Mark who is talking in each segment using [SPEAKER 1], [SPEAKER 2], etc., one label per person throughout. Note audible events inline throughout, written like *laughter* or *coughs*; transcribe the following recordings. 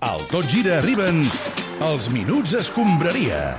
[SPEAKER 1] Al Tot Gira arriben els Minuts Escombraria.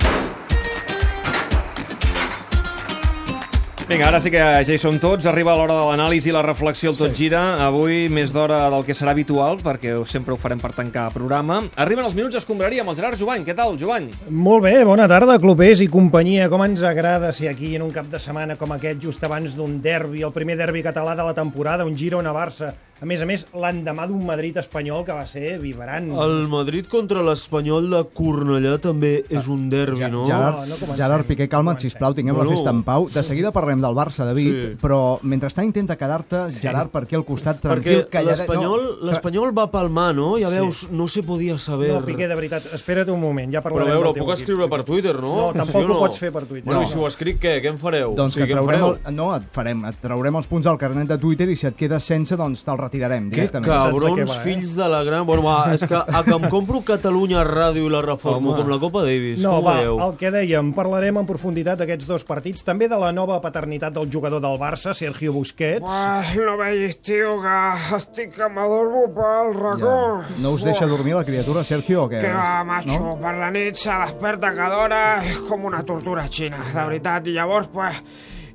[SPEAKER 2] Vinga, ara sí que ja hi som tots. Arriba l'hora de l'anàlisi i la reflexió al Tot Gira. Avui més d'hora del que serà habitual, perquè sempre ho farem per tancar programa. Arriben els minuts d'escombraria amb el Gerard Jovany. Què tal, Jovany?
[SPEAKER 3] Molt bé, bona tarda, clubers i companyia. Com ens agrada ser aquí en un cap de setmana com aquest, just abans d'un derbi, el primer derbi català de la temporada, un Girona-Barça. A més a més, l'endemà d'un Madrid-Espanyol que va ser vibrant.
[SPEAKER 4] Mm. El Madrid contra l'Espanyol de Cornellà també és un derbi,
[SPEAKER 5] Ja,
[SPEAKER 4] no?
[SPEAKER 3] No,
[SPEAKER 5] Gerard,
[SPEAKER 3] no comencem.
[SPEAKER 5] Gerard Piqué, calma't,
[SPEAKER 3] Comencem.
[SPEAKER 5] sisplau, tinguem
[SPEAKER 4] Bueno.
[SPEAKER 5] la festa en pau. De seguida parlem del Barça, David,
[SPEAKER 4] Sí.
[SPEAKER 5] però mentrestant intenta quedar-te, Gerard, per aquí al costat,
[SPEAKER 4] Perquè
[SPEAKER 5] tranquil, calladet.
[SPEAKER 4] l'Espanyol
[SPEAKER 5] No, que-
[SPEAKER 4] l'Espanyol va palmar, no? Ja veus, no se podia saber.
[SPEAKER 3] No, Piqué, de veritat, espera't un moment, ja
[SPEAKER 6] Però a
[SPEAKER 3] parlarem
[SPEAKER 6] veure, ho
[SPEAKER 3] del teu
[SPEAKER 6] puc
[SPEAKER 3] equip.
[SPEAKER 6] escriure per Twitter, no?
[SPEAKER 3] No, tampoc ho pots fer per Twitter.
[SPEAKER 6] Bueno,
[SPEAKER 3] No.
[SPEAKER 6] i si ho escric, què? Què en fareu?
[SPEAKER 5] Doncs
[SPEAKER 6] o sigui,
[SPEAKER 5] que et
[SPEAKER 6] què en
[SPEAKER 5] traurem,
[SPEAKER 6] fareu?
[SPEAKER 5] el, no, et, farem, et traurem els punts al carnet de Twitter i si et quedes sense, doncs te'l retirarem
[SPEAKER 4] Que
[SPEAKER 5] directament.
[SPEAKER 3] Saps de què
[SPEAKER 4] cabrons,
[SPEAKER 3] va, eh?
[SPEAKER 4] fills de la gran... Bueno, va, és que a que em compro Catalunya Ràdio i la reformo
[SPEAKER 2] Home.
[SPEAKER 4] com la Copa Davis.
[SPEAKER 3] No,
[SPEAKER 4] com
[SPEAKER 3] va,
[SPEAKER 4] veieu?
[SPEAKER 3] el que dèiem, parlarem en profunditat d'aquests dos partits, també de la nova paternitat del jugador del Barça, Sergio Busquets.
[SPEAKER 7] no veis, tio, que estic amb adorbo pel racó.
[SPEAKER 5] Ja. No us deixa dormir la criatura, Sergio, o què?
[SPEAKER 7] Que va, macho,
[SPEAKER 5] No?
[SPEAKER 7] per la nit se desperta cada hora, és com una tortura xina, de veritat. I llavors, pues,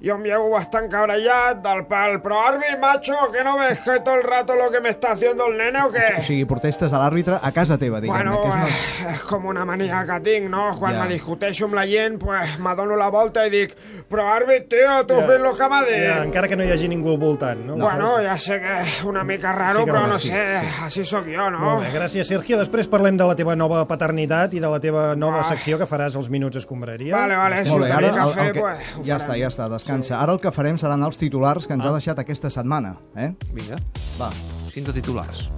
[SPEAKER 7] jo em llevo bastant cabrallat del pal. Però, Arbi, macho, que no ves que todo el rato lo que me está haciendo el nene o
[SPEAKER 5] O
[SPEAKER 7] qué?
[SPEAKER 5] sigui, protestes a l'àrbitre a casa teva, diguem-ne.
[SPEAKER 7] Bueno,
[SPEAKER 5] que és una...
[SPEAKER 7] eh, és com una mania que tinc, no? Quan
[SPEAKER 5] Ja.
[SPEAKER 7] me discuteixo amb la gent, pues, me dono la volta i dic però, Arbi, tio, tu fes lo que m'ha dit.
[SPEAKER 3] Ja, encara que no hi hagi ningú al voltant. No?
[SPEAKER 7] Bueno, ja sé que és una mica raro,
[SPEAKER 5] Sí que
[SPEAKER 7] però
[SPEAKER 5] ho
[SPEAKER 7] no
[SPEAKER 5] és, sí,
[SPEAKER 7] sé, així sóc jo, no?
[SPEAKER 3] Molt bé, gràcies, Sergio. Després parlem de la teva nova paternitat i de la teva nova
[SPEAKER 7] Ah.
[SPEAKER 3] secció que faràs als Minuts Escombraria.
[SPEAKER 7] Vale, vale,
[SPEAKER 5] Molt bé,
[SPEAKER 7] si
[SPEAKER 5] ara
[SPEAKER 7] tenim cafè,
[SPEAKER 5] el, el
[SPEAKER 7] pues,
[SPEAKER 5] que...
[SPEAKER 7] ho
[SPEAKER 5] ja està,
[SPEAKER 7] farem.
[SPEAKER 5] ja està, descansa. Ara el que farem seran els titulars que ens ha deixat aquesta setmana, eh?
[SPEAKER 2] Vinga,
[SPEAKER 5] Va.
[SPEAKER 2] cinta titulars.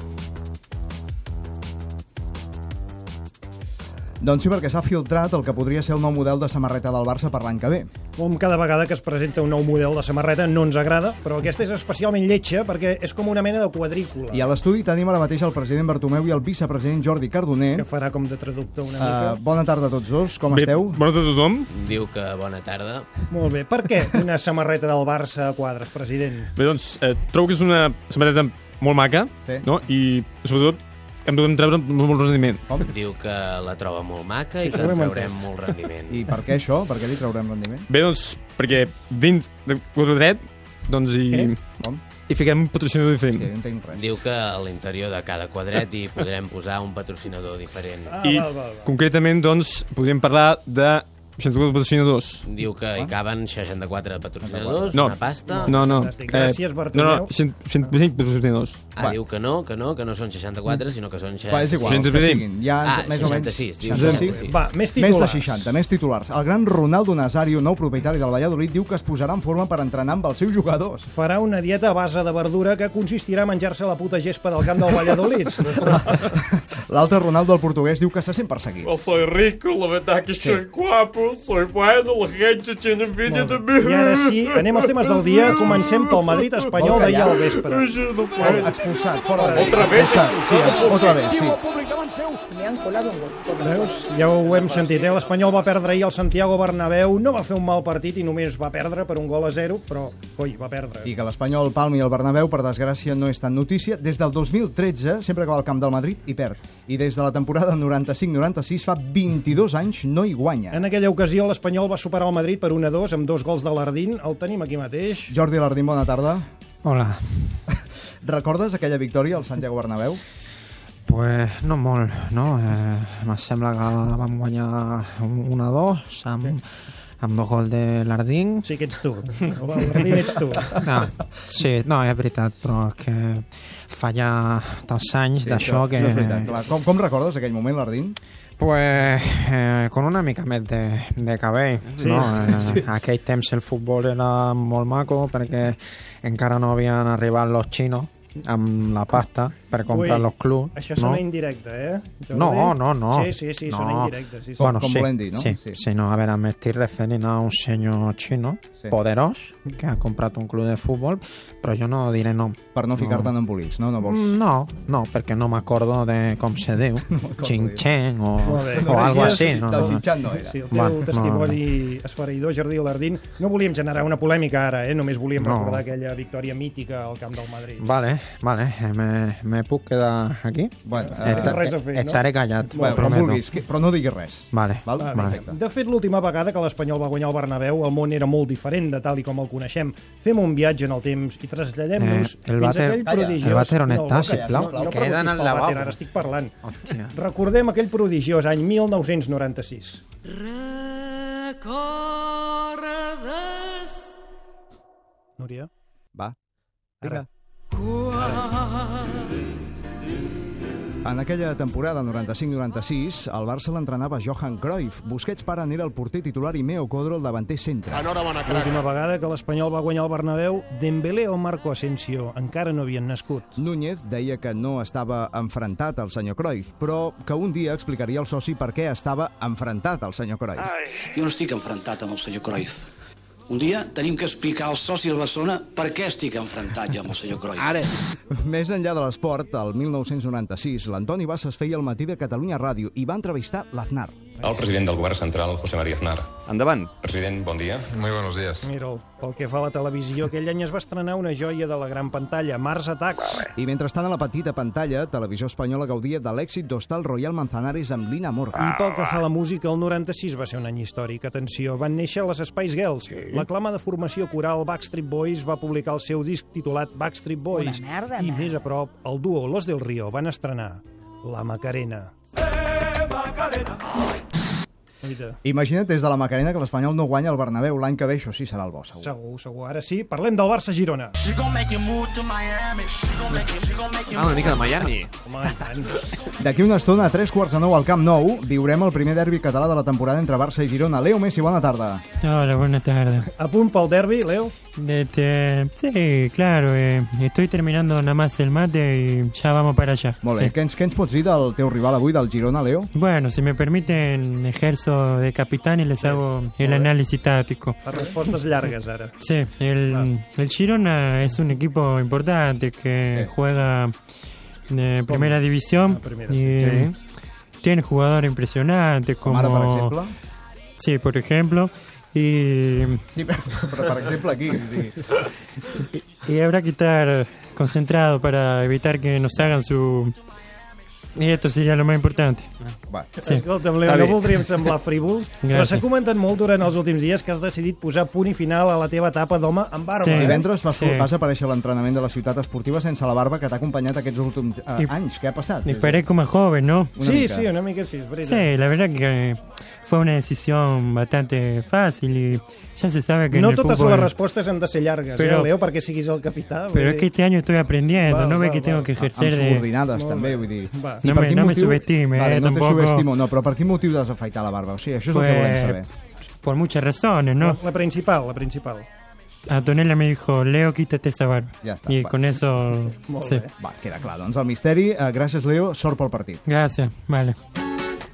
[SPEAKER 5] Doncs sí, perquè s'ha filtrat el que podria ser el nou model de samarreta del Barça per l'any que ve.
[SPEAKER 3] Com cada vegada que es presenta un nou model de samarreta no ens agrada, però aquesta és especialment lletja perquè és com una mena de quadrícula
[SPEAKER 5] I a l'estudi tenim ara mateix el president Bartomeu i el vicepresident Jordi Cardoner.
[SPEAKER 3] que farà com de traductor una
[SPEAKER 5] Uh,
[SPEAKER 3] mica.
[SPEAKER 5] bona tarda a tots dos, com esteu?
[SPEAKER 8] Bona tarda a tothom.
[SPEAKER 9] Diu que bona tarda.
[SPEAKER 3] Molt bé. Per què una samarreta del Barça a quadres, president?
[SPEAKER 8] Bé, doncs, eh, trobo que és una samarreta molt maca,
[SPEAKER 5] Sí.
[SPEAKER 8] no? I, sobretot, em podem treure molt, molt rendiment.
[SPEAKER 9] Diu que la troba molt maca
[SPEAKER 3] Sí,
[SPEAKER 9] i que
[SPEAKER 3] ho hem
[SPEAKER 9] en traurem
[SPEAKER 3] entès.
[SPEAKER 9] molt rendiment.
[SPEAKER 5] I per què això? Per què li traurem rendiment?
[SPEAKER 8] Bé, doncs, perquè dins de quatre dret, doncs, hi,
[SPEAKER 3] Eh?
[SPEAKER 5] Com?
[SPEAKER 8] hi fiquem un patrocinador
[SPEAKER 5] Sí,
[SPEAKER 8] diferent.
[SPEAKER 5] no entenc res.
[SPEAKER 9] Diu que a l'interior de cada quadret hi podrem posar un patrocinador diferent.
[SPEAKER 3] Ah,
[SPEAKER 8] I,
[SPEAKER 3] val, val, val.
[SPEAKER 8] concretament, doncs, podríem parlar de 64 patrocinadors.
[SPEAKER 9] Diu que
[SPEAKER 5] Ah.
[SPEAKER 9] hi caben 64 patrocinadors,
[SPEAKER 8] No.
[SPEAKER 9] una pasta...
[SPEAKER 8] No, no. Eh,
[SPEAKER 3] Fantàstic. Gràcies,
[SPEAKER 8] no,
[SPEAKER 3] Bartomeu.
[SPEAKER 8] no, 100 125 patrocinadors.
[SPEAKER 9] Ah, diu que no, que no, que no són 64, sinó que són 60.
[SPEAKER 5] Va, Mm. és igual,
[SPEAKER 8] Gens
[SPEAKER 5] els que
[SPEAKER 8] evident.
[SPEAKER 5] siguin. Ja,
[SPEAKER 9] Ah,
[SPEAKER 5] ens- més o menys
[SPEAKER 9] 66, diu
[SPEAKER 5] 66.
[SPEAKER 9] 66.
[SPEAKER 3] Va, més
[SPEAKER 5] Més
[SPEAKER 3] titulars.
[SPEAKER 5] de 60, més titulars. El gran Ronaldo Nazario, nou propietari del Valladolid, diu que es posarà en forma per entrenar amb els seus jugadors.
[SPEAKER 3] Farà una dieta a base de verdura que consistirà a menjar-se la puta gespa del camp del
[SPEAKER 7] *laughs*
[SPEAKER 3] Valladolid.
[SPEAKER 5] L'altre Ronaldo, el portuguès, diu que se sent perseguit.
[SPEAKER 6] Yo Oh, soy rico, la verdad que soy guapo, soy bueno, la gente tiene envidia de mí.
[SPEAKER 3] I ara sí, anem als temes del dia. Comencem pel Madrid-Espanyol d'ahir al vespre.
[SPEAKER 6] Yo no puedo.
[SPEAKER 5] Oh, expulsat, fora de
[SPEAKER 6] Otra vez
[SPEAKER 5] expulsat. Sí,
[SPEAKER 6] expulsado por
[SPEAKER 5] otra vez, sí.
[SPEAKER 3] Veus? Ja ho hem sentit, eh? L'Espanyol va perdre ahir al Santiago Bernabéu, no va fer un mal partit i només va perdre per un gol a zero, però, coi, va perdre.
[SPEAKER 5] I que l'Espanyol, Palma i el Bernabéu, per desgràcia, no és tan notícia. Des del 2013, sempre que va al camp del Madrid, hi perd. I des de la temporada 95-96, fa 22 anys, no hi guanya.
[SPEAKER 3] En aquella ocasió, l'Espanyol va superar el Madrid per 1-2 amb dos gols de l'Ardín. El tenim aquí mateix.
[SPEAKER 5] Jordi Lardín, bona tarda.
[SPEAKER 10] Hola,
[SPEAKER 5] *laughs* Recordes aquella victòria al Santiago Bernabéu?
[SPEAKER 10] pues no molt, no? Eh, me sembla que vam guanyar un- un a dos amb, amb dos gols de l'Ardín.
[SPEAKER 3] Sí que ets tu. L'Ardín ets tu.
[SPEAKER 10] No, sí, no, és veritat, però és que falla tants anys d'això que...
[SPEAKER 5] Això és veritat, clar. Com, com recordes aquell moment, Lardín?
[SPEAKER 10] Pues eh, con una mica més de, de cabell,
[SPEAKER 3] Sí.
[SPEAKER 10] no? Eh, Aquell temps el futbol era molt maco perquè encara no havien arribat los chinos amb la pasta per comprar
[SPEAKER 3] Ui,
[SPEAKER 10] los clubs.
[SPEAKER 3] Això
[SPEAKER 10] no?
[SPEAKER 3] sona indirecte, eh? Jordi?
[SPEAKER 10] No, no, no.
[SPEAKER 3] Sí, sí, sí,
[SPEAKER 10] no.
[SPEAKER 3] sona indirecte. Sí, sí.
[SPEAKER 10] Bueno,
[SPEAKER 5] Com
[SPEAKER 10] sí,
[SPEAKER 5] volen dir, no?
[SPEAKER 10] Sí,
[SPEAKER 5] Sí.
[SPEAKER 10] sí. sí, no, a veure, me estic referint a un senyor xino,
[SPEAKER 5] Sí.
[SPEAKER 10] sí. poderós, que ha comprat un club de futbol, però jo no diré nom.
[SPEAKER 5] Per no ficar-te en embolics, no? No vols...
[SPEAKER 10] Mm, No, no, perquè no m'acordo de com se
[SPEAKER 5] *laughs*
[SPEAKER 10] diu, Chinchen o,
[SPEAKER 3] Molt bé,
[SPEAKER 10] o algo
[SPEAKER 3] gràcies.
[SPEAKER 10] així. No,
[SPEAKER 5] Del
[SPEAKER 10] no.
[SPEAKER 5] xinxat no era.
[SPEAKER 3] Sí, el teu
[SPEAKER 10] Bueno,
[SPEAKER 3] eh. testimoni esfereïdor, Jardí Lardín. No volíem generar una polèmica ara, eh? Només volíem
[SPEAKER 10] No.
[SPEAKER 3] recordar aquella victòria mítica al camp del Madrid.
[SPEAKER 10] Vale, Vale, me, me puc quedar aquí?
[SPEAKER 5] Bueno,
[SPEAKER 3] eh, res a fer, no?
[SPEAKER 10] Estaré callat,
[SPEAKER 5] Bueno, com
[SPEAKER 10] ho prometo.
[SPEAKER 5] vulguis, que- però no diguis res.
[SPEAKER 10] Vale,
[SPEAKER 5] Val?
[SPEAKER 10] vale.
[SPEAKER 5] Perfecte.
[SPEAKER 3] Ah, De fet, l'última vegada que l'Espanyol va guanyar el Bernabéu, el món era molt diferent de tal i com el coneixem. Fem un viatge en el temps i traslladem-nos
[SPEAKER 10] Eh, el
[SPEAKER 3] fins a
[SPEAKER 10] vàter-
[SPEAKER 3] aquell
[SPEAKER 10] Calla.
[SPEAKER 3] prodigiós...
[SPEAKER 10] el vàter on està,
[SPEAKER 3] no,
[SPEAKER 10] sisplau?
[SPEAKER 3] No, no
[SPEAKER 10] Queda
[SPEAKER 3] preguntis
[SPEAKER 10] en el
[SPEAKER 3] pel vàter,
[SPEAKER 10] lavabo.
[SPEAKER 3] ara estic parlant.
[SPEAKER 10] Hòstia.
[SPEAKER 3] Recordem aquell prodigiós any 1996.
[SPEAKER 11] Recordes
[SPEAKER 12] Núria?
[SPEAKER 5] Va. Vinga.
[SPEAKER 11] quan...
[SPEAKER 5] En aquella temporada 95-96, el Barça l'entrenava Johan Cruyff. Busquets pare n'era el porter titular i Meo Codro el davanter centre.
[SPEAKER 6] Enhorabona, crac.
[SPEAKER 3] L'última vegada que l'Espanyol va guanyar el Bernabéu, Dembélé o Marco Asensio encara no havien nascut.
[SPEAKER 5] Núñez deia que no estava enfrontat al senyor Cruyff, però que un dia explicaria al soci per què estava enfrontat al senyor
[SPEAKER 13] Ah.
[SPEAKER 5] Cruyff.
[SPEAKER 13] Jo no estic enfrontat amb el senyor Cruyff. Un dia tenim que explicar als socis de Barcelona per què estic enfrontat jo amb el senyor Cruyff. Ara.
[SPEAKER 5] Més enllà de l'esport, el 1996, l'Antoni Bassas feia el matí de Catalunya Ràdio i va entrevistar l'Aznar.
[SPEAKER 14] El president del govern central, José María Aznar. Endavant. President, bon dia. Muy buenos días.
[SPEAKER 3] Mira'l, pel que fa a la televisió, aquell any es va estrenar una joia de la gran pantalla, Mars Attacks.
[SPEAKER 5] I mentrestant a la petita pantalla, Televisió Espanyola gaudia de l'èxit d'Hostal Royal Manzanares amb Lina Morgan.
[SPEAKER 3] I pel que fa a la música, el 96 va ser un any històric. Atenció, van néixer les Spice Girls. Sí. La clama de formació coral Backstreet Boys va publicar el seu disc titulat Backstreet Boys. Merda, I més a prop, el duo Los del Río van estrenar La Macarena. Eh, Macarena!
[SPEAKER 5] Imagina't des de la Macarena que l'Espanyol no guanya el Bernabéu. L'any que ve això sí serà el bo, segur.
[SPEAKER 3] Segur, segur. Ara sí, parlem del Barça-Girona.
[SPEAKER 11] She gonna make you move to Miami. She gonna make you, she gonna make you
[SPEAKER 12] Ah,
[SPEAKER 11] move to
[SPEAKER 3] Home, i tant.
[SPEAKER 5] D'aquí una estona, a tres quarts de nou al Camp Nou, viurem el primer derbi català de la temporada entre Barça i Girona. Leo Messi, bona tarda.
[SPEAKER 12] Hola, buena tarde.
[SPEAKER 3] A punt pel derbi, Leo?
[SPEAKER 12] Este, sí, claro, eh, estoy terminando nada más el mate y ya vamos para allá.
[SPEAKER 5] Molt bé,
[SPEAKER 12] Sí.
[SPEAKER 5] què ens, què ens pots dir del teu rival avui, del Girona, Leo?
[SPEAKER 12] Bueno, si me permiten, ejerzo de capitán y les hago el análisis táctico.
[SPEAKER 3] Les respostes llargues, ara.
[SPEAKER 12] Sí, el, el Girona es un equipo importante que juega eh, primera división.
[SPEAKER 11] primera,
[SPEAKER 12] y,
[SPEAKER 11] sí.
[SPEAKER 12] eh, Tiene jugadores impresionantes como...
[SPEAKER 5] Omar, per exemple?
[SPEAKER 12] Sí, por ejemplo. Y,
[SPEAKER 5] Sí, per, per, per exemple, aquí. Sí.
[SPEAKER 12] y habrá que estar concentrado para evitar que nos hagan su... Y esto sería lo más importante.
[SPEAKER 5] Va.
[SPEAKER 12] Sí.
[SPEAKER 3] Escolta'm, Leo, no voldríem semblar
[SPEAKER 12] *laughs*
[SPEAKER 3] frívols, però s'ha
[SPEAKER 12] Gràcies.
[SPEAKER 3] comentat molt durant els últims dies que has decidit posar punt i final a la teva etapa d'home amb barba. eh?
[SPEAKER 5] Divendres vas,
[SPEAKER 12] sí.
[SPEAKER 5] vas aparèixer a l'entrenament de la ciutat esportiva sense la barba que t'ha acompanyat aquests últims eh,
[SPEAKER 12] I-
[SPEAKER 5] anys. Què ha passat?
[SPEAKER 12] Y parezco más joven, ¿no?
[SPEAKER 3] Sí, sí, una mica sí, és veritat.
[SPEAKER 12] Sí, la verdad que fue una decisión bastante fácil y ya se sabe que en
[SPEAKER 3] No
[SPEAKER 12] el
[SPEAKER 3] totes
[SPEAKER 12] fútbol-
[SPEAKER 3] les respostes han de ser llargues, però,
[SPEAKER 12] Però-
[SPEAKER 3] eh, Leo, perquè siguis el capità. vull
[SPEAKER 12] Pero es
[SPEAKER 3] dir.
[SPEAKER 12] que este año estoy aprendiendo,
[SPEAKER 3] Va,
[SPEAKER 12] no ve
[SPEAKER 3] va,
[SPEAKER 12] que
[SPEAKER 3] va.
[SPEAKER 12] tengo que ejercer
[SPEAKER 5] amb
[SPEAKER 12] de...
[SPEAKER 5] subordinades també, vull dir.
[SPEAKER 3] Va.
[SPEAKER 5] I
[SPEAKER 12] No
[SPEAKER 5] per
[SPEAKER 12] me-
[SPEAKER 5] quin
[SPEAKER 12] no me
[SPEAKER 5] motiu-
[SPEAKER 12] subestime,
[SPEAKER 5] Vale,
[SPEAKER 12] eh,
[SPEAKER 5] no
[SPEAKER 12] tampoco.
[SPEAKER 5] te subestimo, Oh, no, però per quin motiu desafaitar la barba? O sigui, això és el que volem saber.
[SPEAKER 12] por muchas razones, ¿no?
[SPEAKER 3] La principal, la principal.
[SPEAKER 12] Antonella me dijo, Leo, quítate esa barba.
[SPEAKER 5] Ya está,
[SPEAKER 12] y
[SPEAKER 5] bueno.
[SPEAKER 12] con eso...
[SPEAKER 3] Molt
[SPEAKER 12] sí.
[SPEAKER 3] bé.
[SPEAKER 5] Va, queda clar. Doncs el misteri, eh, gràcies, Leo, sort pel partit.
[SPEAKER 12] Gracias, vale.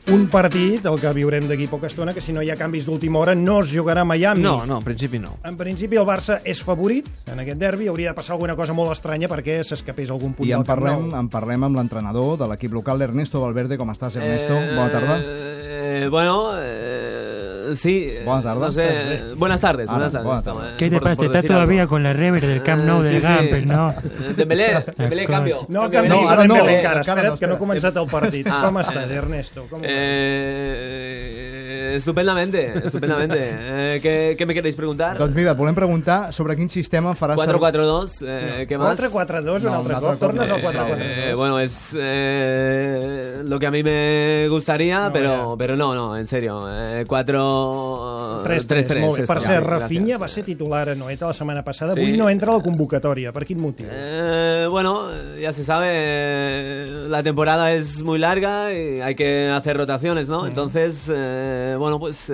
[SPEAKER 3] Un partit, el que viurem d'aquí poca estona, que si no hi ha canvis d'última hora no es jugarà a Miami.
[SPEAKER 2] No, no, en principi no.
[SPEAKER 3] En principi el Barça és favorit en aquest derbi, hauria de passar alguna cosa molt estranya perquè s'escapés algun punt
[SPEAKER 5] I en
[SPEAKER 3] del Camp
[SPEAKER 5] parlem,
[SPEAKER 3] Nou.
[SPEAKER 5] en parlem amb l'entrenador de l'equip local, l'Ernesto Valverde. Com estàs, Ernesto? Bona tarda.
[SPEAKER 4] Eh, bueno, eh, sí. eh,
[SPEAKER 5] Buenas tardes.
[SPEAKER 4] No sé, buenas tardes.
[SPEAKER 5] Ah,
[SPEAKER 4] buenas tardes.
[SPEAKER 5] buenas
[SPEAKER 4] toma, eh,
[SPEAKER 12] ¿Qué te
[SPEAKER 4] por-
[SPEAKER 12] pasa?
[SPEAKER 4] por
[SPEAKER 12] Estás
[SPEAKER 4] decir
[SPEAKER 12] todavía
[SPEAKER 4] algo.
[SPEAKER 12] con la rever del Camp Nou
[SPEAKER 4] Eh,
[SPEAKER 12] del
[SPEAKER 4] sí, sí.
[SPEAKER 12] Gamper, ¿no?
[SPEAKER 4] Eh, Dembélé, Dembélé, cambio.
[SPEAKER 3] No
[SPEAKER 4] Dembélé.
[SPEAKER 3] canvis no,
[SPEAKER 4] ara no,
[SPEAKER 3] Dembélé
[SPEAKER 4] eh,
[SPEAKER 3] encara,
[SPEAKER 4] encara
[SPEAKER 3] espera't,
[SPEAKER 4] no,
[SPEAKER 3] que no ha
[SPEAKER 4] espera.
[SPEAKER 3] començat el partit.
[SPEAKER 4] Ah,
[SPEAKER 3] Com estás,
[SPEAKER 4] eh,
[SPEAKER 3] Ernesto? Com
[SPEAKER 4] Eh, estupendamente, estupendamente. Eh, ¿qué, ¿Qué me queréis preguntar?
[SPEAKER 5] Doncs mira, et volem preguntar sobre quin sistema farà... Oh.
[SPEAKER 4] 4-4-2, eh, ¿qué más?
[SPEAKER 3] 4-4-2, un altre cop, tornes al 4-4-2.
[SPEAKER 4] Eh, bueno, es eh, lo que a mí me gustaría, pero, pero no, no, en serio. eh, 4
[SPEAKER 3] 3-3, molt bé. Per ser Rafinha va ser titular a Noeta la setmana passada, avui
[SPEAKER 4] Sí.
[SPEAKER 3] no entra a la convocatòria, per quin motiu?
[SPEAKER 4] Eh, bueno, ya se sabe, eh, la temporada es muy larga y hay que hacer rotaciones, ¿no? Entonces, eh, bueno, pues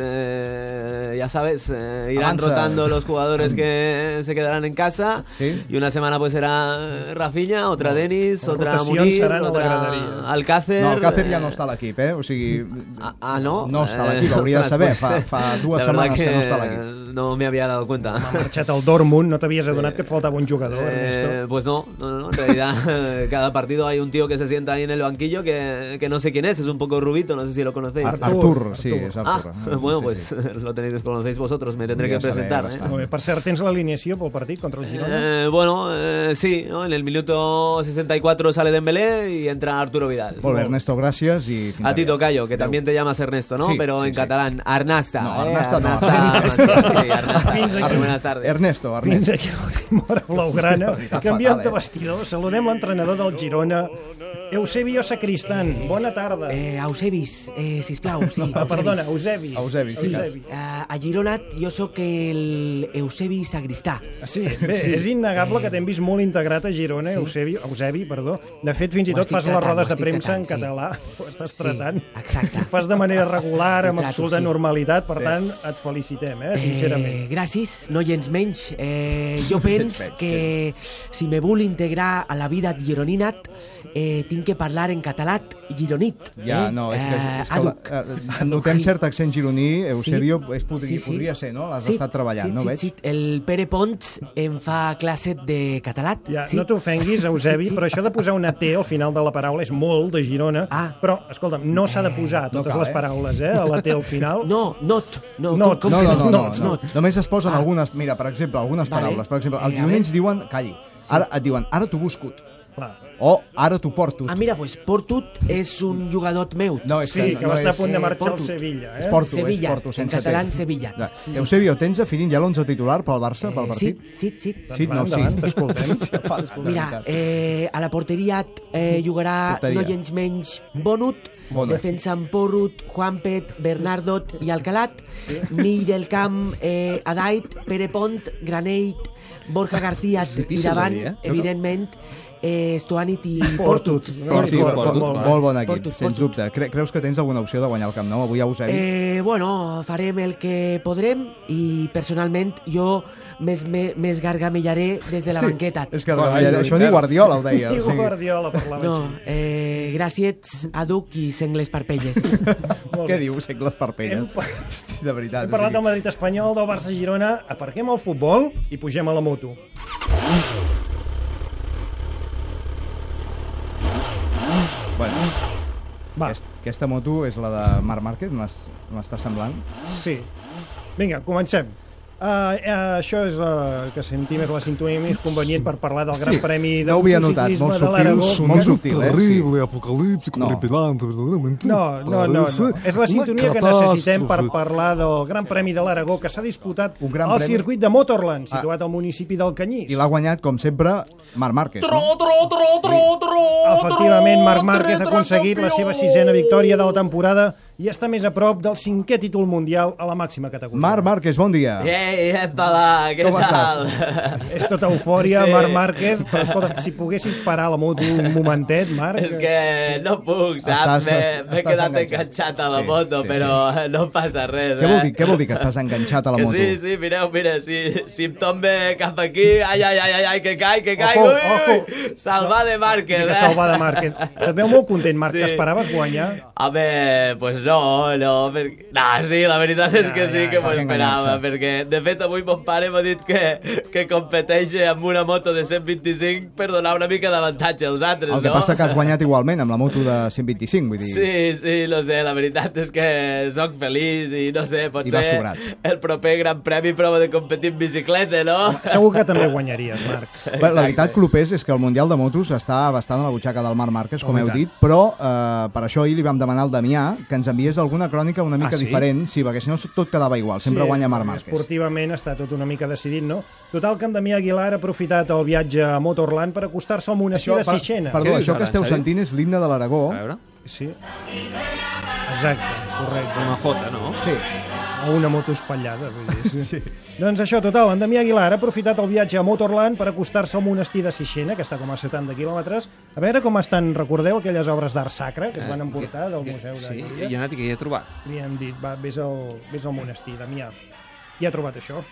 [SPEAKER 4] eh, ya sabes, eh, irán
[SPEAKER 5] Avanza.
[SPEAKER 4] rotando los jugadores que se quedarán en casa y una semana pues será Rafinha, otra Denis, otra
[SPEAKER 5] rotacions
[SPEAKER 4] Munir,
[SPEAKER 5] será, no
[SPEAKER 4] otra
[SPEAKER 5] t'agradaria.
[SPEAKER 4] Alcácer.
[SPEAKER 5] No, Alcácer ja
[SPEAKER 4] eh,
[SPEAKER 5] no està a l'equip, eh? O sigui...
[SPEAKER 4] Ah, ah, no?
[SPEAKER 5] No està a
[SPEAKER 4] Eh,
[SPEAKER 5] l'equip, hauria de
[SPEAKER 4] *laughs* ostres,
[SPEAKER 5] saber.
[SPEAKER 4] pues, eh,
[SPEAKER 5] Fa, fa dues
[SPEAKER 4] *laughs* La verdad
[SPEAKER 5] setmanes que no està a l'equip.
[SPEAKER 4] No me había dado cuenta.
[SPEAKER 3] Ha marxat al
[SPEAKER 4] *laughs*
[SPEAKER 3] Dortmund, no t'havies adonat que et faltava un jugador, Ernesto.
[SPEAKER 4] Eh, pues no, no, no, no, en
[SPEAKER 5] *laughs*
[SPEAKER 4] realidad cada partido hay un tío que se sienta ahí en el banquillo que, que no sé quién es, es un poco rubito, no sé si lo conocéis.
[SPEAKER 5] Artur, Artur, sí, Artur. es Artur.
[SPEAKER 4] Ah, bueno, pues *laughs* lo tenéis, conocéis vosotros, me tendré
[SPEAKER 5] Ja
[SPEAKER 4] que presentar.
[SPEAKER 5] sabeu,
[SPEAKER 4] ¿eh?
[SPEAKER 5] ja
[SPEAKER 3] Molt bé, per cert, tens l'alineació pel partit contra el Girona?
[SPEAKER 4] Eh, bueno, eh, sí, ¿no? en el minuto 64 sale Dembélé y entra Arturo Vidal.
[SPEAKER 5] Molt bé, Ernesto, gràcies. I fins
[SPEAKER 4] A ti Tocayo, que también te llamas Ernesto, ¿no?
[SPEAKER 5] Sí,
[SPEAKER 4] Pero
[SPEAKER 5] sí,
[SPEAKER 4] en
[SPEAKER 5] sí.
[SPEAKER 4] catalán, Arnasta.
[SPEAKER 5] No,
[SPEAKER 4] ¿eh?
[SPEAKER 5] Arnasta no,
[SPEAKER 4] Arnasta.
[SPEAKER 5] *laughs* Arnasta.
[SPEAKER 4] sí, Arnasta.
[SPEAKER 5] Fins aquí.
[SPEAKER 4] Buenas tardes.
[SPEAKER 5] Ernesto,
[SPEAKER 3] Fins
[SPEAKER 5] *laughs* Ernesto.
[SPEAKER 3] aquí l'última hora blaugrana.
[SPEAKER 5] Està
[SPEAKER 3] Canviem
[SPEAKER 5] fatal,
[SPEAKER 3] de
[SPEAKER 5] eh?
[SPEAKER 3] vestidor. Saludem l'entrenador del Girona, Eusebio Sacristan. Bona tarda.
[SPEAKER 15] Eh, Eusebis, eh, sisplau,
[SPEAKER 3] *laughs*
[SPEAKER 15] sí.
[SPEAKER 3] Ah, perdona, Eusebi. Eusebi, sí.
[SPEAKER 15] sí.
[SPEAKER 3] Eusebi.
[SPEAKER 15] Ah, a Girona jo sóc el Eusebi Sagristà.
[SPEAKER 3] Ah, Sí, Bé, és innegable que t'hem vist molt integrat a Girona, sí. Eusebi, Eusebi, perdó. De fet, fins i
[SPEAKER 15] Ho
[SPEAKER 3] tot
[SPEAKER 15] estic
[SPEAKER 3] fas les
[SPEAKER 15] tratant,
[SPEAKER 3] rodes
[SPEAKER 15] ho
[SPEAKER 3] de
[SPEAKER 15] estic
[SPEAKER 3] premsa en
[SPEAKER 15] tratant, sí.
[SPEAKER 3] català. *laughs* Ho estàs
[SPEAKER 15] Sí,
[SPEAKER 3] tratant.
[SPEAKER 15] exacte.
[SPEAKER 3] Ho fas de manera regular,
[SPEAKER 15] Ho
[SPEAKER 3] amb
[SPEAKER 15] trato,
[SPEAKER 3] absoluta
[SPEAKER 15] sí.
[SPEAKER 3] normalitat. Per
[SPEAKER 15] Sí.
[SPEAKER 3] tant, et felicitem, eh, sincerament.
[SPEAKER 15] Eh, gràcies, no gens menys. Eh,
[SPEAKER 5] *laughs*
[SPEAKER 15] jo pens que si me vull integrar a la vida gironinat, eh, tinc que parlar en català gironit.
[SPEAKER 5] Ja,
[SPEAKER 15] eh?
[SPEAKER 5] no, és que, és que
[SPEAKER 15] aduc.
[SPEAKER 5] la, eh, notem cert accent gironí, Eusebio, és, podria,
[SPEAKER 15] Sí, sí.
[SPEAKER 5] podria ser, no? L'has
[SPEAKER 15] Sí,
[SPEAKER 5] estat treballant,
[SPEAKER 15] sí,
[SPEAKER 5] no
[SPEAKER 15] sí,
[SPEAKER 5] veig?
[SPEAKER 15] Sí, el Pere Pons em fa classe de català.
[SPEAKER 3] Ja,
[SPEAKER 15] sí.
[SPEAKER 3] No t'ofenguis, Eusebi, però això de posar una T al final de la paraula és molt de Girona. Ah. Però, escolta'm, no s'ha de posar totes
[SPEAKER 5] cal,
[SPEAKER 3] les
[SPEAKER 5] eh?
[SPEAKER 3] paraules, eh, a la T al
[SPEAKER 5] *laughs*
[SPEAKER 3] final.
[SPEAKER 15] No, not. No, Ah.
[SPEAKER 3] not.
[SPEAKER 5] No, no, no, no,
[SPEAKER 3] not,
[SPEAKER 5] no. Només es posen algunes, mira, per exemple, algunes
[SPEAKER 15] Vale.
[SPEAKER 5] paraules. Per exemple,
[SPEAKER 15] Eh,
[SPEAKER 5] els
[SPEAKER 15] a
[SPEAKER 5] gironins diuen, calli, ara et diuen, ara t'ho buscut.
[SPEAKER 3] Clar.
[SPEAKER 5] O ara t'ho porto.
[SPEAKER 15] Ah, mira, pues Portut és un jugador meu.
[SPEAKER 5] No, és que Sí, no, que va no estar a és- punt de
[SPEAKER 3] marxar al Sevilla, eh?
[SPEAKER 5] És Porto,
[SPEAKER 15] Sevilla,
[SPEAKER 5] és Porto, sense
[SPEAKER 15] en català
[SPEAKER 5] T.
[SPEAKER 15] Sevilla.
[SPEAKER 5] Ja. Eusebio, tens definint ja l'11 titular pel Barça, pel
[SPEAKER 15] Eh, sí,
[SPEAKER 5] partit?
[SPEAKER 15] sí, sí.
[SPEAKER 5] Sí, no, Doncs sí.
[SPEAKER 15] Endavant,
[SPEAKER 3] t'escoltem.
[SPEAKER 5] Hòstia, pare, *laughs* escolta, eh? de
[SPEAKER 15] Mira,
[SPEAKER 5] veritat.
[SPEAKER 15] eh, a la porteria eh, jugarà
[SPEAKER 5] Porteria.
[SPEAKER 15] porteria. no gens menys Bonut,
[SPEAKER 5] Bonut.
[SPEAKER 15] Bonut. defensa en Porrut, Juanpet, Bernardot i Alcalat, mig del camp eh, Adait, Pere Pont, Granell, Borja García i
[SPEAKER 5] difícil de
[SPEAKER 15] davant,
[SPEAKER 5] dir, eh?
[SPEAKER 15] evidentment, eh, Stoanit i
[SPEAKER 5] Portut.
[SPEAKER 15] Portut.
[SPEAKER 5] Sí, molt, molt, molt, molt bon equip,
[SPEAKER 15] Portut,
[SPEAKER 5] Portut, sens dubte. Cre creus que tens alguna opció de guanyar el Camp Nou avui a Eusebi?
[SPEAKER 15] Eh, bueno, farem el que podrem i personalment jo més, me- més gargamellaré des de la
[SPEAKER 5] Sí,
[SPEAKER 15] banqueta.
[SPEAKER 5] és que gargamellaré, això ni Guardiola ho deia,
[SPEAKER 3] Ni
[SPEAKER 5] o sigui.
[SPEAKER 3] Guardiola parlava
[SPEAKER 15] No,
[SPEAKER 3] així.
[SPEAKER 15] eh, gràcies a Duc i Sengles Parpelles.
[SPEAKER 5] *laughs* Què dius, Segles Parpelles? Hosti, De veritat.
[SPEAKER 3] Hem
[SPEAKER 5] o
[SPEAKER 3] parlat
[SPEAKER 5] sigui-
[SPEAKER 3] del Madrid espanyol, del Barça Girona, aparquem el futbol i pugem a la moto.
[SPEAKER 5] Bueno,
[SPEAKER 15] Mm.
[SPEAKER 5] Va. Aquest, aquesta moto és la de Marc Márquez, m'es- m'està semblant.
[SPEAKER 3] Sí. Vinga, comencem. Uh, uh, això és uh, que sentim és la sintonia més convenient per parlar del Gran
[SPEAKER 5] Sí,
[SPEAKER 3] Premi de
[SPEAKER 5] no ho havia notat,
[SPEAKER 3] motociclisme
[SPEAKER 5] molt
[SPEAKER 3] de
[SPEAKER 5] subtil,
[SPEAKER 3] l'Aragó.
[SPEAKER 5] som- Muy sutil, eh?
[SPEAKER 16] terrible, apocalíptico,
[SPEAKER 5] No.
[SPEAKER 16] horripilante, verdaderamente.
[SPEAKER 3] No, no, no, no.
[SPEAKER 16] Parece
[SPEAKER 3] És la
[SPEAKER 16] una
[SPEAKER 3] sintonia que
[SPEAKER 16] catàstrofe.
[SPEAKER 3] necessitem per parlar del Gran Premi de l'Aragó que s'ha disputat al
[SPEAKER 5] gran premi. Ah.
[SPEAKER 3] circuit de Motorland, situat al municipi del Canyís.
[SPEAKER 5] I l'ha guanyat, com sempre, Marc Márquez. No?
[SPEAKER 3] Efectivament, Marc Márquez ha aconseguit la seva sisena victòria de la temporada i està més a prop del cinquè títol mundial a la màxima categoria.
[SPEAKER 5] Marc Márquez, bon dia.
[SPEAKER 4] Ei, epala, què
[SPEAKER 5] Com
[SPEAKER 4] tal?
[SPEAKER 3] És tota eufòria,
[SPEAKER 4] Sí.
[SPEAKER 3] sí. Marc
[SPEAKER 4] *laughs*
[SPEAKER 3] Márquez, però escolta, si poguessis parar la moto un momentet, Marc...
[SPEAKER 4] És que no puc,
[SPEAKER 5] Estàs-
[SPEAKER 4] saps? M'he-
[SPEAKER 5] estàs
[SPEAKER 4] M'he quedat
[SPEAKER 5] enganxat.
[SPEAKER 4] enganxat a la
[SPEAKER 5] Sí,
[SPEAKER 4] moto,
[SPEAKER 5] sí,
[SPEAKER 4] però no passa res,
[SPEAKER 5] Què vol, dir,
[SPEAKER 4] eh?
[SPEAKER 5] què vol dir que estàs enganxat a la
[SPEAKER 4] Que
[SPEAKER 5] moto?
[SPEAKER 4] sí, sí, mireu, mira, si, si em tombe cap aquí, ai, ai, ai, ai, ai que caic, que caic,
[SPEAKER 3] Ojo,
[SPEAKER 4] ui, ui, ui, salvar de Márquez,
[SPEAKER 3] Que
[SPEAKER 4] eh?
[SPEAKER 3] salva de Márquez. Se't veu molt content, Marc, sí. que esperaves guanyar.
[SPEAKER 4] Home, pues no, no, perquè... No, sí, la veritat és que sí que m'ho
[SPEAKER 5] per
[SPEAKER 4] esperava,
[SPEAKER 5] enganyar-se.
[SPEAKER 4] perquè de fet avui mon pare m'ha dit que, que competeix amb una moto de 125 per donar una mica d'avantatge als altres,
[SPEAKER 5] El que
[SPEAKER 4] no?
[SPEAKER 5] passa que has guanyat igualment amb la moto de 125, vull dir...
[SPEAKER 4] Sí, sí, no sé, la veritat és que sóc feliç i no sé,
[SPEAKER 5] va
[SPEAKER 4] potser
[SPEAKER 5] sobrat.
[SPEAKER 4] el proper Gran Premi prova de competir en bicicleta, no?
[SPEAKER 3] Segur que també guanyaries, Marc.
[SPEAKER 5] Bé, la veritat, Clopés, és que el Mundial de Motos està bastant a la butxaca del Marc Márquez, com
[SPEAKER 3] Oh, i
[SPEAKER 5] heu
[SPEAKER 3] tant.
[SPEAKER 5] dit, però eh, per això ahir li vam demanar al Damià que ens enviés alguna crònica una mica
[SPEAKER 3] Ah, sí?
[SPEAKER 5] diferent, sí, perquè si no tot quedava igual, sempre guanya Marc Márquez.
[SPEAKER 3] Esportivament està tot una mica decidit, no? Total, que en Damià Aguilar ha aprofitat el viatge a Motorland per acostar-se al monestir de
[SPEAKER 5] per-
[SPEAKER 3] Sixena.
[SPEAKER 5] Perdó, això que esteu sentint és l'himne de l'Aragó.
[SPEAKER 3] Sí. Exacte, correcte.
[SPEAKER 2] Una jota, no?
[SPEAKER 5] Sí.
[SPEAKER 3] O una moto espatllada, vull dir. *laughs* Sí. sí. Doncs això, total, en Damià Aguilar ha aprofitat el viatge a Motorland per acostar-se al monestir de Sixena, que està com a 70 quilòmetres, a veure com estan, recordeu, aquelles obres d'art sacre que es van emportar del Museu de
[SPEAKER 2] Eh, Sí, i
[SPEAKER 3] Lleida?
[SPEAKER 2] he anat i que hi he trobat.
[SPEAKER 3] Li hem dit, va, vés al, vés al monestir, Damià. I ha trobat això.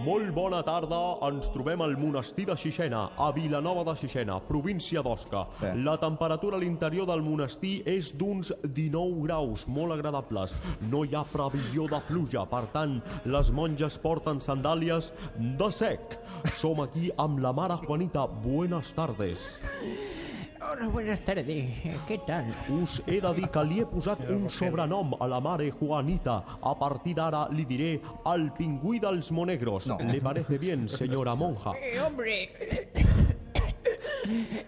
[SPEAKER 17] Molt bona tarda, ens trobem al monestir de Xixena, a Vilanova de Xixena, província d'Osca.
[SPEAKER 5] Bé.
[SPEAKER 17] La temperatura a l'interior del monestir és d'uns 19 graus, molt agradables. No hi ha previsió de pluja, per tant, les monges porten sandàlies de sec. Som aquí amb la mare Juanita. Buenas tardes.
[SPEAKER 18] Hola, buenas tardes. ¿Qué Eh, tal?
[SPEAKER 17] Us he de dir que li he posat un sobrenom a la mare Juanita. A partir d'ara li diré el pingüí dels monegros. No. ¿Le parece bien, senyora monja?
[SPEAKER 18] Eh, hombre, *coughs*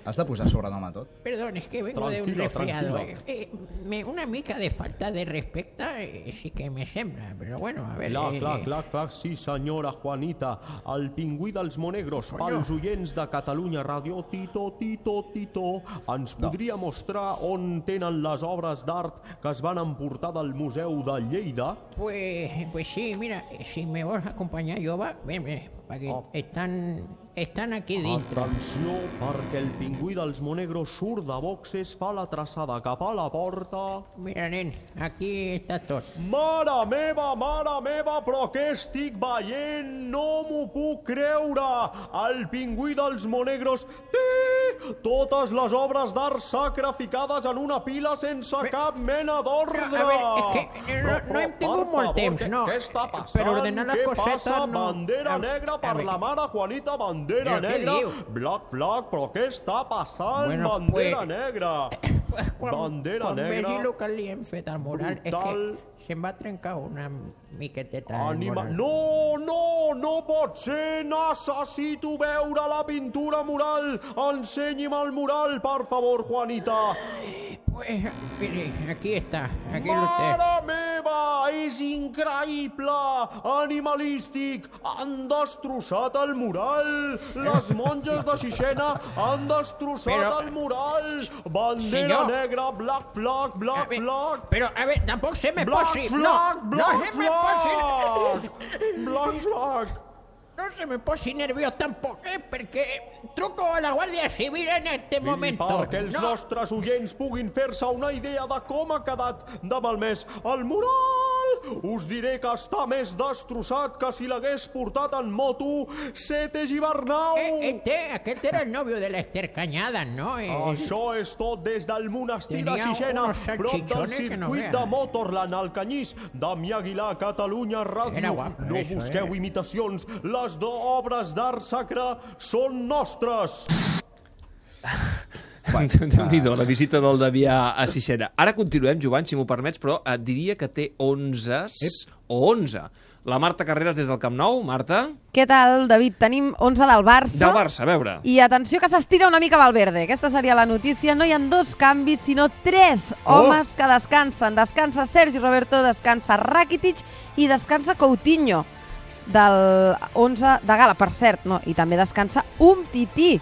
[SPEAKER 5] Has de posar sobrenom a tot.
[SPEAKER 18] perdón, es que vengo de un
[SPEAKER 5] Tranquilo,
[SPEAKER 18] resfriado.
[SPEAKER 5] tranquilo.
[SPEAKER 18] Eh, me- una mica de falta de respeto eh, sí que me sembra, pero bueno, a ver.
[SPEAKER 17] Clar,
[SPEAKER 18] eh,
[SPEAKER 17] clar, clar, clar, sí senyora Juanita, el pingüí dels monegros, pels oients de Catalunya Ràdio, Tito, Tito, Tito, ens podria mostrar on tenen les obres d'art que es van emportar del Museu de Lleida?
[SPEAKER 18] Pues, pues sí, mira, si me vas a acompañar, yo va, ven, ven, para que
[SPEAKER 5] Oh.
[SPEAKER 18] están, están aquí
[SPEAKER 5] Ah.
[SPEAKER 18] dentro.
[SPEAKER 17] Atenció, perquè el pingüí dels monegros surt de boxes, fa la traçada cap a la porta...
[SPEAKER 18] Mira, nen, aquí está tot.
[SPEAKER 17] Mare meva, mare meva, però què estic veient? No m'ho puc creure! El pingüí dels monegros té totes les obres d'art sacrificades en una pila sense cap mena d'ordre!
[SPEAKER 18] A ver, es que eh, no, no hem tingut molt temps, no.
[SPEAKER 17] Què està passant?
[SPEAKER 18] Per ordenar les
[SPEAKER 17] Què
[SPEAKER 18] cosetes...
[SPEAKER 17] passa?
[SPEAKER 18] no.
[SPEAKER 17] Bandera
[SPEAKER 18] A-
[SPEAKER 17] negra
[SPEAKER 18] a
[SPEAKER 17] per
[SPEAKER 18] ver.
[SPEAKER 17] la mare Juanita, bandera
[SPEAKER 18] Però què
[SPEAKER 17] negra.
[SPEAKER 18] diu?
[SPEAKER 17] Black flag, però què està passant?
[SPEAKER 18] Bueno,
[SPEAKER 17] bandera
[SPEAKER 18] pues-
[SPEAKER 17] negra.
[SPEAKER 18] *coughs*
[SPEAKER 17] bandera
[SPEAKER 18] Quan
[SPEAKER 17] negra.
[SPEAKER 18] vegi el que li hem fet al mural,
[SPEAKER 17] Brutal.
[SPEAKER 18] és que se'm va trencar una miqueteta al
[SPEAKER 17] Ànima...
[SPEAKER 18] mural.
[SPEAKER 17] No, no, no pot ser! Necessito veure la pintura mural! Ensenyi'm el mural, per favor, Juanita!
[SPEAKER 18] Pues, mire, aquí està, aquí lo té.
[SPEAKER 17] Mare meva! És increïble! Animalístic! Han destrossat el mural! Les monges de Xixena han destrossat
[SPEAKER 18] Però-
[SPEAKER 17] el mural! Bandera
[SPEAKER 18] Senyor. Eh,
[SPEAKER 17] negra, black flag, black flag...
[SPEAKER 18] Però, a veure, tampoc se me
[SPEAKER 17] Black
[SPEAKER 18] posi...
[SPEAKER 17] flag,
[SPEAKER 18] no,
[SPEAKER 17] black
[SPEAKER 18] no se me posi...
[SPEAKER 17] Black flag!
[SPEAKER 18] No se me posi nerviós tampoc, eh, perquè truco a la Guàrdia Civil en este momento.
[SPEAKER 17] I perquè els
[SPEAKER 18] no,
[SPEAKER 17] nostres oients puguin fer-se una idea de com ha quedat de malmès el mural, us diré que està més destrossat que si l'hagués portat en moto Sete Gibernau.
[SPEAKER 18] Este, aquest era el novio de l'Ester Cañada, no? Eh,
[SPEAKER 17] Això és tot des del monestir de
[SPEAKER 18] Tenia
[SPEAKER 17] Xixena,
[SPEAKER 18] unos
[SPEAKER 17] prop del
[SPEAKER 18] salchichones que no eh.
[SPEAKER 17] circuit
[SPEAKER 18] veas.
[SPEAKER 17] de Motorland, al Canyís, Damià Aguilar, Catalunya
[SPEAKER 18] Era
[SPEAKER 17] Ràdio.
[SPEAKER 18] guapo,
[SPEAKER 17] No
[SPEAKER 18] eso,
[SPEAKER 17] busqueu
[SPEAKER 18] eh.
[SPEAKER 17] imitacions, les d'obres d'art sacre són nostres.
[SPEAKER 2] *laughs* Déu-n'hi-do, la visita del Davià a Sixena. Ara continuem, Joan, si m'ho permets, però et diria que té 11 o 11. La Marta Carreras des del Camp Nou. Marta,
[SPEAKER 19] Què tal, David? Tenim 11 del Barça.
[SPEAKER 2] del Barça, a veure.
[SPEAKER 19] I atenció que s'estira una mica Valverde. Aquesta seria la notícia. No hi ha dos canvis, sinó tres
[SPEAKER 2] Oh!
[SPEAKER 19] homes que descansen. Descansa Sergi Roberto, descansa Rakitic i descansa Coutinho del 11 de gala, per cert. No, I també descansa un tití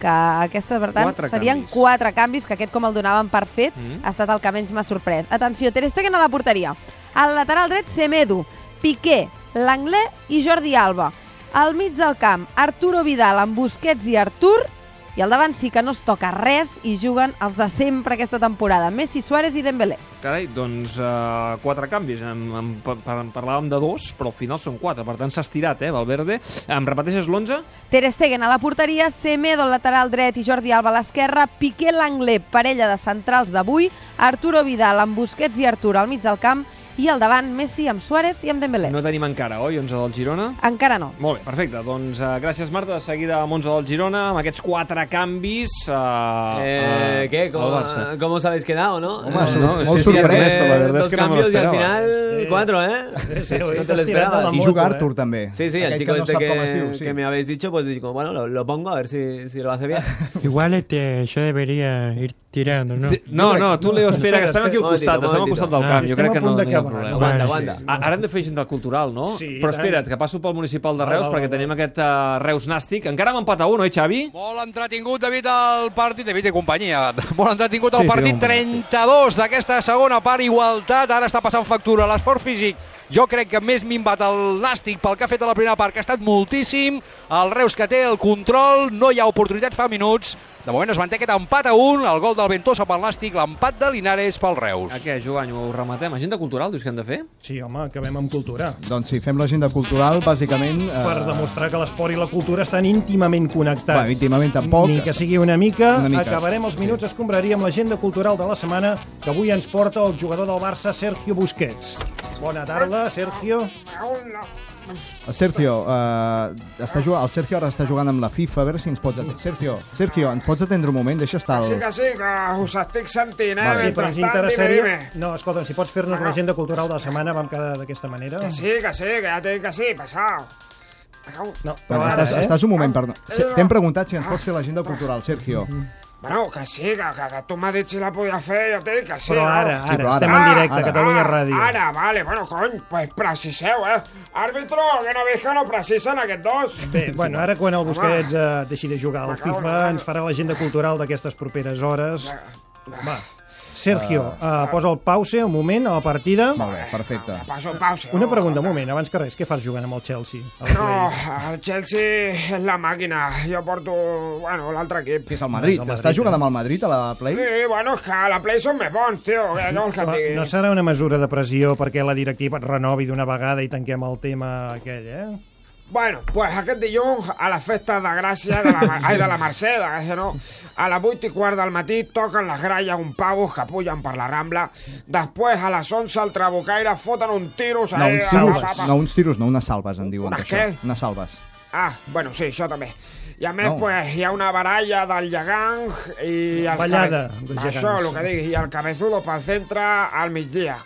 [SPEAKER 19] que aquestes, per tant,
[SPEAKER 20] Quatre
[SPEAKER 19] serien
[SPEAKER 20] canvis.
[SPEAKER 19] quatre canvis, que aquest, com el donaven per fet,
[SPEAKER 20] Mm.
[SPEAKER 19] ha estat el que menys m'ha sorprès. Atenció, Ter Stegen a la porteria. Al lateral dret, Semedo, Piqué, Langlais i Jordi Alba. Al mig del camp, Arturo Vidal amb Busquets i Artur. I al davant sí que no es toca res i juguen els de sempre aquesta temporada, Messi, Suárez i Dembélé.
[SPEAKER 2] Carai, doncs uh, quatre canvis. En, en, par- par- parlàvem de dos, però al final són quatre. Per tant, s'ha estirat, eh, Valverde. Em repeteixes l'11?
[SPEAKER 19] Ter Stegen a la porteria, Semedo al lateral dret i Jordi Alba a l'esquerra, Piqué Langlais, parella de centrals d'avui, Arturo Vidal amb Busquets i Artur al mig del camp i al davant Messi amb Suárez i amb Dembélé.
[SPEAKER 2] No tenim encara, oi, 11 del Girona?
[SPEAKER 19] Encara no.
[SPEAKER 2] Molt bé, perfecte. Doncs uh, gràcies, Marta. De seguida amb 11 del Girona, amb aquests quatre canvis uh,
[SPEAKER 4] Eh, ¿Qué?
[SPEAKER 2] al
[SPEAKER 4] ¿Cómo,
[SPEAKER 2] Barça.
[SPEAKER 4] cómo os habéis quedado, no?
[SPEAKER 2] Home,
[SPEAKER 4] Eh,
[SPEAKER 2] no, molt
[SPEAKER 4] es que
[SPEAKER 2] sorprès, però la verdad
[SPEAKER 4] dos
[SPEAKER 2] es que no me lo
[SPEAKER 4] cambios y al
[SPEAKER 2] esperaba.
[SPEAKER 4] final
[SPEAKER 2] Sí.
[SPEAKER 4] cuatro, ¿eh?
[SPEAKER 2] Sí, sí,
[SPEAKER 4] *laughs*
[SPEAKER 2] te has
[SPEAKER 4] no te lo
[SPEAKER 2] tirado
[SPEAKER 4] esperabas.
[SPEAKER 5] I
[SPEAKER 2] ¿eh?
[SPEAKER 5] juga Artur, també.
[SPEAKER 4] Sí, sí, el
[SPEAKER 5] Aquell
[SPEAKER 4] chico
[SPEAKER 5] que no
[SPEAKER 4] este
[SPEAKER 5] sap
[SPEAKER 4] que,
[SPEAKER 5] com es diu, sí.
[SPEAKER 4] que me habéis dicho, pues digo, bueno, lo, lo pongo a ver si, si lo
[SPEAKER 5] *laughs*
[SPEAKER 4] hace bien.
[SPEAKER 12] Igual este, yo debería ir tirando, ¿no? Ah,
[SPEAKER 2] No, no, tu, Leo, espera, que estem aquí al costat, estem al costat del
[SPEAKER 3] Ah,
[SPEAKER 2] camp. Jo crec que no, no hi ha problema.
[SPEAKER 4] Aguanta, aguanta.
[SPEAKER 2] A- Ara hem de fer gent del cultural, no?
[SPEAKER 4] Sí,
[SPEAKER 2] Però
[SPEAKER 4] i tant.
[SPEAKER 2] espera't, que passo pel municipal de
[SPEAKER 4] Va,
[SPEAKER 2] Reus,
[SPEAKER 4] va, va,
[SPEAKER 2] perquè tenim aquest eh, Reus nàstic. Encara amb empat a un, oi, Xavi?
[SPEAKER 21] Molt entretingut, David, el partit, David i companyia, *laughs* molt entretingut el
[SPEAKER 2] Sí, sí,
[SPEAKER 21] partit,
[SPEAKER 2] companyia,
[SPEAKER 21] 32 d'aquesta segona part, igualtat, ara està passant factura, l'esforç físic, jo crec que més minvat el Nàstic pel que ha fet a la primera part, que ha estat moltíssim, el Reus que té el control, no hi ha oportunitat fa minuts, De moment es manté aquest empat a un, el gol del Ventosa pel Nàstic, l'empat de Linares pel Reus.
[SPEAKER 2] A què, Joan, ho rematem? Agenda cultural, dius que hem de fer?
[SPEAKER 3] Sí, home, acabem amb cultura.
[SPEAKER 5] Doncs sí, fem l'agenda cultural, bàsicament... Eh,
[SPEAKER 3] Per demostrar que l'esport i la cultura estan íntimament connectats.
[SPEAKER 5] Bueno, íntimament tampoc.
[SPEAKER 3] Ni que sigui una mica,
[SPEAKER 5] Una
[SPEAKER 3] una
[SPEAKER 5] mica.
[SPEAKER 3] mica. acabarem els minuts sí. escombraria amb l'agenda cultural de la setmana que avui ens porta el jugador del Barça, Sergio Busquets. Bona tarda, Sergio.
[SPEAKER 7] Ah,
[SPEAKER 5] El Sergio, eh, està jugant, el Sergio ara està jugant amb la FIFA, a veure si ens pots atendre. Sergio, Sergio, ens pots atendre un moment? Deixa estar
[SPEAKER 7] Sí
[SPEAKER 5] el...
[SPEAKER 7] que sí, que us estic sentint, eh?
[SPEAKER 5] Vale.
[SPEAKER 3] Sí, però ens
[SPEAKER 7] Mentrestant,
[SPEAKER 3] interessaria...
[SPEAKER 7] Dime, dime.
[SPEAKER 3] No, escolta, si pots fer-nos l'agenda cultural de la setmana, vam quedar d'aquesta manera.
[SPEAKER 7] Que sí, que sí, que ja t'he dit que sí, passau.
[SPEAKER 3] No,
[SPEAKER 5] Bueno,
[SPEAKER 3] ara,
[SPEAKER 5] estàs,
[SPEAKER 3] eh?
[SPEAKER 5] estàs un moment, perdó. Sí, T'hem preguntat si ens pots fer l'agenda cultural, Sergio.
[SPEAKER 3] Mm.
[SPEAKER 7] Bueno, que sí, que, que, que tu m'has dit si la podia fer, jo t'he dit que sí.
[SPEAKER 5] Però
[SPEAKER 7] no?
[SPEAKER 5] ara, Sí, ara, però ara. estem en directe, Catalunya Ràdio.
[SPEAKER 7] Ara, vale, bueno, cony, pues preciseu, eh? Àrbitro, que no veus que no precisen aquests dos?
[SPEAKER 3] Bé, bueno, ara quan el Busquets eh, deixi de jugar al
[SPEAKER 7] M'acabo
[SPEAKER 3] FIFA
[SPEAKER 7] d'anar.
[SPEAKER 3] ens farà l'agenda cultural d'aquestes properes hores. Va, Sergio, eh, posa el pause un moment a la partida.
[SPEAKER 5] Ah. Molt bé, perfecte.
[SPEAKER 7] Passo, pausa.
[SPEAKER 3] Una pregunta, un moment, abans que res, què fas jugant amb el Chelsea? El
[SPEAKER 7] No, el Chelsea és la màquina. Jo porto, bueno, l'altre equip.
[SPEAKER 5] És el Madrid. Estàs jugant
[SPEAKER 3] eh?
[SPEAKER 5] amb el Madrid a la Play?
[SPEAKER 7] Sí, bueno, és que a la Play són més bons, tio. Què vols que et digui?
[SPEAKER 3] No serà una mesura de pressió perquè la directiva et renovi d'una vegada i tanquem el tema aquell, eh?
[SPEAKER 7] Bueno, pues aquest dilluns a la festa de Gràcia, de la, Mar- ai, de la Mercè, de Gràcia no, a les 8 i quart del matí toquen les gralles un pavos que pugen per la Rambla, després a les 11 el Trabucaire foten un tiro, eh,
[SPEAKER 5] No, uns
[SPEAKER 7] a la
[SPEAKER 5] tiros,
[SPEAKER 7] papa.
[SPEAKER 5] no, uns tiros, no, unes salves, en diuen.
[SPEAKER 7] Unes
[SPEAKER 5] d'això.
[SPEAKER 7] què?
[SPEAKER 5] Unes salves.
[SPEAKER 7] Ah, bueno, sí, això també. I a més,
[SPEAKER 5] No.
[SPEAKER 7] pues, hi ha una baralla del gegant i... El
[SPEAKER 3] Ballada
[SPEAKER 7] cabe-
[SPEAKER 3] dels
[SPEAKER 7] Això,
[SPEAKER 3] gegants.
[SPEAKER 7] el que digui. I el cabezudo pel centre al migdia.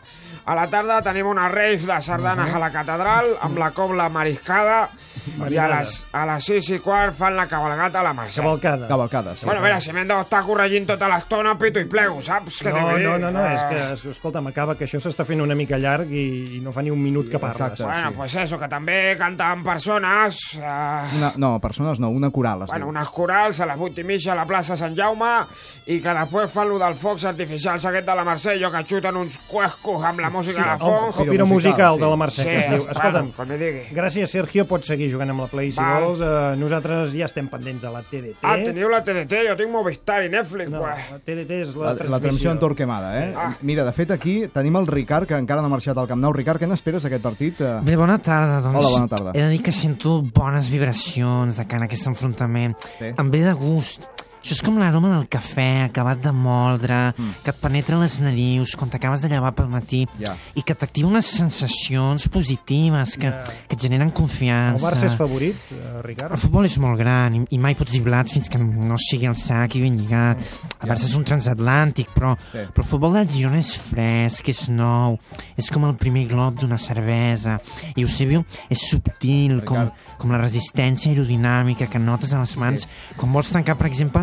[SPEAKER 7] A la tarda tenim una rave de sardanes a la catedral amb la cobla mariscada i a
[SPEAKER 3] Marinada.
[SPEAKER 7] les, a les 6 i quart fan la cabalgata a la Mercè.
[SPEAKER 3] Cavalcada.
[SPEAKER 5] Cavalcada, sí.
[SPEAKER 7] Bueno, mira, si m'hem d'estar corregint tota l'estona, pito i plego, saps? Què
[SPEAKER 3] No,
[SPEAKER 7] t'he dit?
[SPEAKER 3] no, no, no, és que,
[SPEAKER 7] Ah.
[SPEAKER 3] es- escolta'm, acaba que això s'està fent una mica llarg i, i no fa ni un minut que parles.
[SPEAKER 7] Bueno, pues eso, que també canten persones... Eh,
[SPEAKER 5] Una, Ah, no, persones no, una coral. Es
[SPEAKER 7] Bueno,
[SPEAKER 5] diu.
[SPEAKER 7] unes corals a les 8 i mitja a la plaça Sant Jaume i que després fan lo del focs artificials aquest de la Mercè, allò que xuten uns cuescos amb la
[SPEAKER 3] Sí,
[SPEAKER 7] música de
[SPEAKER 3] el-
[SPEAKER 7] fons.
[SPEAKER 3] el piromusical de la Mercè, que es diu.
[SPEAKER 7] bueno,
[SPEAKER 3] Escolta'm.
[SPEAKER 7] com li digui.
[SPEAKER 3] Gràcies, Sergio. Pots seguir jugant amb la Play, si
[SPEAKER 7] Val.
[SPEAKER 3] vols. Eh, nosaltres ja estem pendents de la TDT.
[SPEAKER 7] Ah, teniu la TDT, jo tinc Movistar i Netflix, no, pues.
[SPEAKER 3] eh? La TDT és
[SPEAKER 5] La, la transmissió en Torquemada, eh?
[SPEAKER 7] Ah.
[SPEAKER 5] Mira, de fet, aquí tenim el Ricard, que encara no ha marxat al Camp Nou. Ricard, què n'esperes d'aquest partit? Eh,
[SPEAKER 10] Bé, bona tarda, doncs.
[SPEAKER 5] Hola, bona tarda.
[SPEAKER 10] He de dir que sento bones vibracions de cara a aquest enfrontament.
[SPEAKER 5] Sí.
[SPEAKER 10] Em ve de gust. Això és com l'aroma del cafè acabat de moldre, que et penetra a les narius quan t'acabes de llevar pel matí
[SPEAKER 5] Mm. Ja.
[SPEAKER 10] i que t'activa unes sensacions positives que, que et generen
[SPEAKER 3] El
[SPEAKER 10] confiança.
[SPEAKER 3] Barça és favorit, eh,
[SPEAKER 10] El
[SPEAKER 3] Ricard?
[SPEAKER 10] futbol és molt gran i, i mai pots dir blat fins que no sigui el sac i ben lligat. El Barça és un transatlàntic, però,
[SPEAKER 5] Sí.
[SPEAKER 10] però el futbol del Girona és fresc, és nou, és com el primer glob d'una cervesa. I Eusebio és subtil, com, com la resistència aerodinàmica que notes a les mans quan vols tancar, per exemple,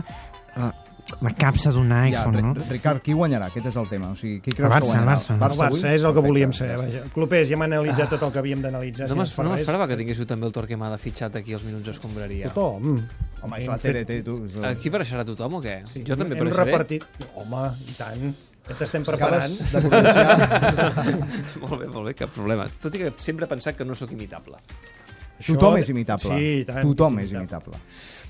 [SPEAKER 10] la, la capsa d'un iPhone,
[SPEAKER 5] Ri-
[SPEAKER 10] no?
[SPEAKER 5] Ricard, qui guanyarà? Aquest és el tema. O sigui, qui
[SPEAKER 10] El
[SPEAKER 5] creus
[SPEAKER 10] Barça,
[SPEAKER 5] que guanyarà?
[SPEAKER 10] el Barça.
[SPEAKER 5] El
[SPEAKER 3] El Barça
[SPEAKER 5] avui?
[SPEAKER 3] és el que
[SPEAKER 5] Perfecte.
[SPEAKER 3] volíem saber. Vaja. Clopés, ja hem analitzat tot el que havíem d'analitzar.
[SPEAKER 2] No
[SPEAKER 3] si ens
[SPEAKER 2] m'es-
[SPEAKER 3] fa
[SPEAKER 2] no
[SPEAKER 3] res.
[SPEAKER 2] m'esperava que tinguéssiu també el Torquemada fitxat aquí als Minuts Escombraria.
[SPEAKER 3] Tothom.
[SPEAKER 5] Home,
[SPEAKER 2] és
[SPEAKER 5] la TDT, tu. és el-
[SPEAKER 2] Aquí apareixerà tothom o què? Sí, jo
[SPEAKER 3] Hem-
[SPEAKER 2] també
[SPEAKER 3] hem
[SPEAKER 2] apareixeré.
[SPEAKER 3] repartit. Home, i tant. Ja t'estem preparant.
[SPEAKER 2] Acabes de començar. *laughs* molt bé, molt bé, cap problema. Tot i que sempre he pensat que no sóc imitable.
[SPEAKER 5] Tothom és imitable.
[SPEAKER 3] Sí, i tant.
[SPEAKER 5] Tothom és imitable.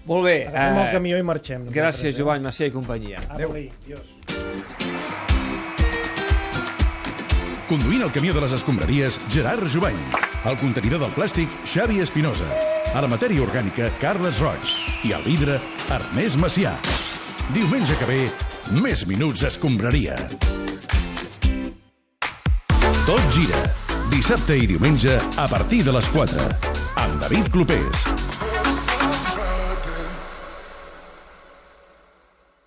[SPEAKER 2] Molt bé. eh,
[SPEAKER 3] Agafem el camió i marxem, nosaltres,
[SPEAKER 2] Gràcies,
[SPEAKER 3] eh?
[SPEAKER 2] Joan, Macià i companyia.
[SPEAKER 3] Adéu. Adiós.
[SPEAKER 1] Conduint el camió de les escombraries, Gerard Jubany. El contenidor del plàstic, Xavi Espinosa. A la matèria orgànica, Carles Roig. I al vidre, Ernest Macià. Diumenge que ve, més minuts escombraria. Tot gira. Dissabte i diumenge, a partir de les 4. Amb David Clopés.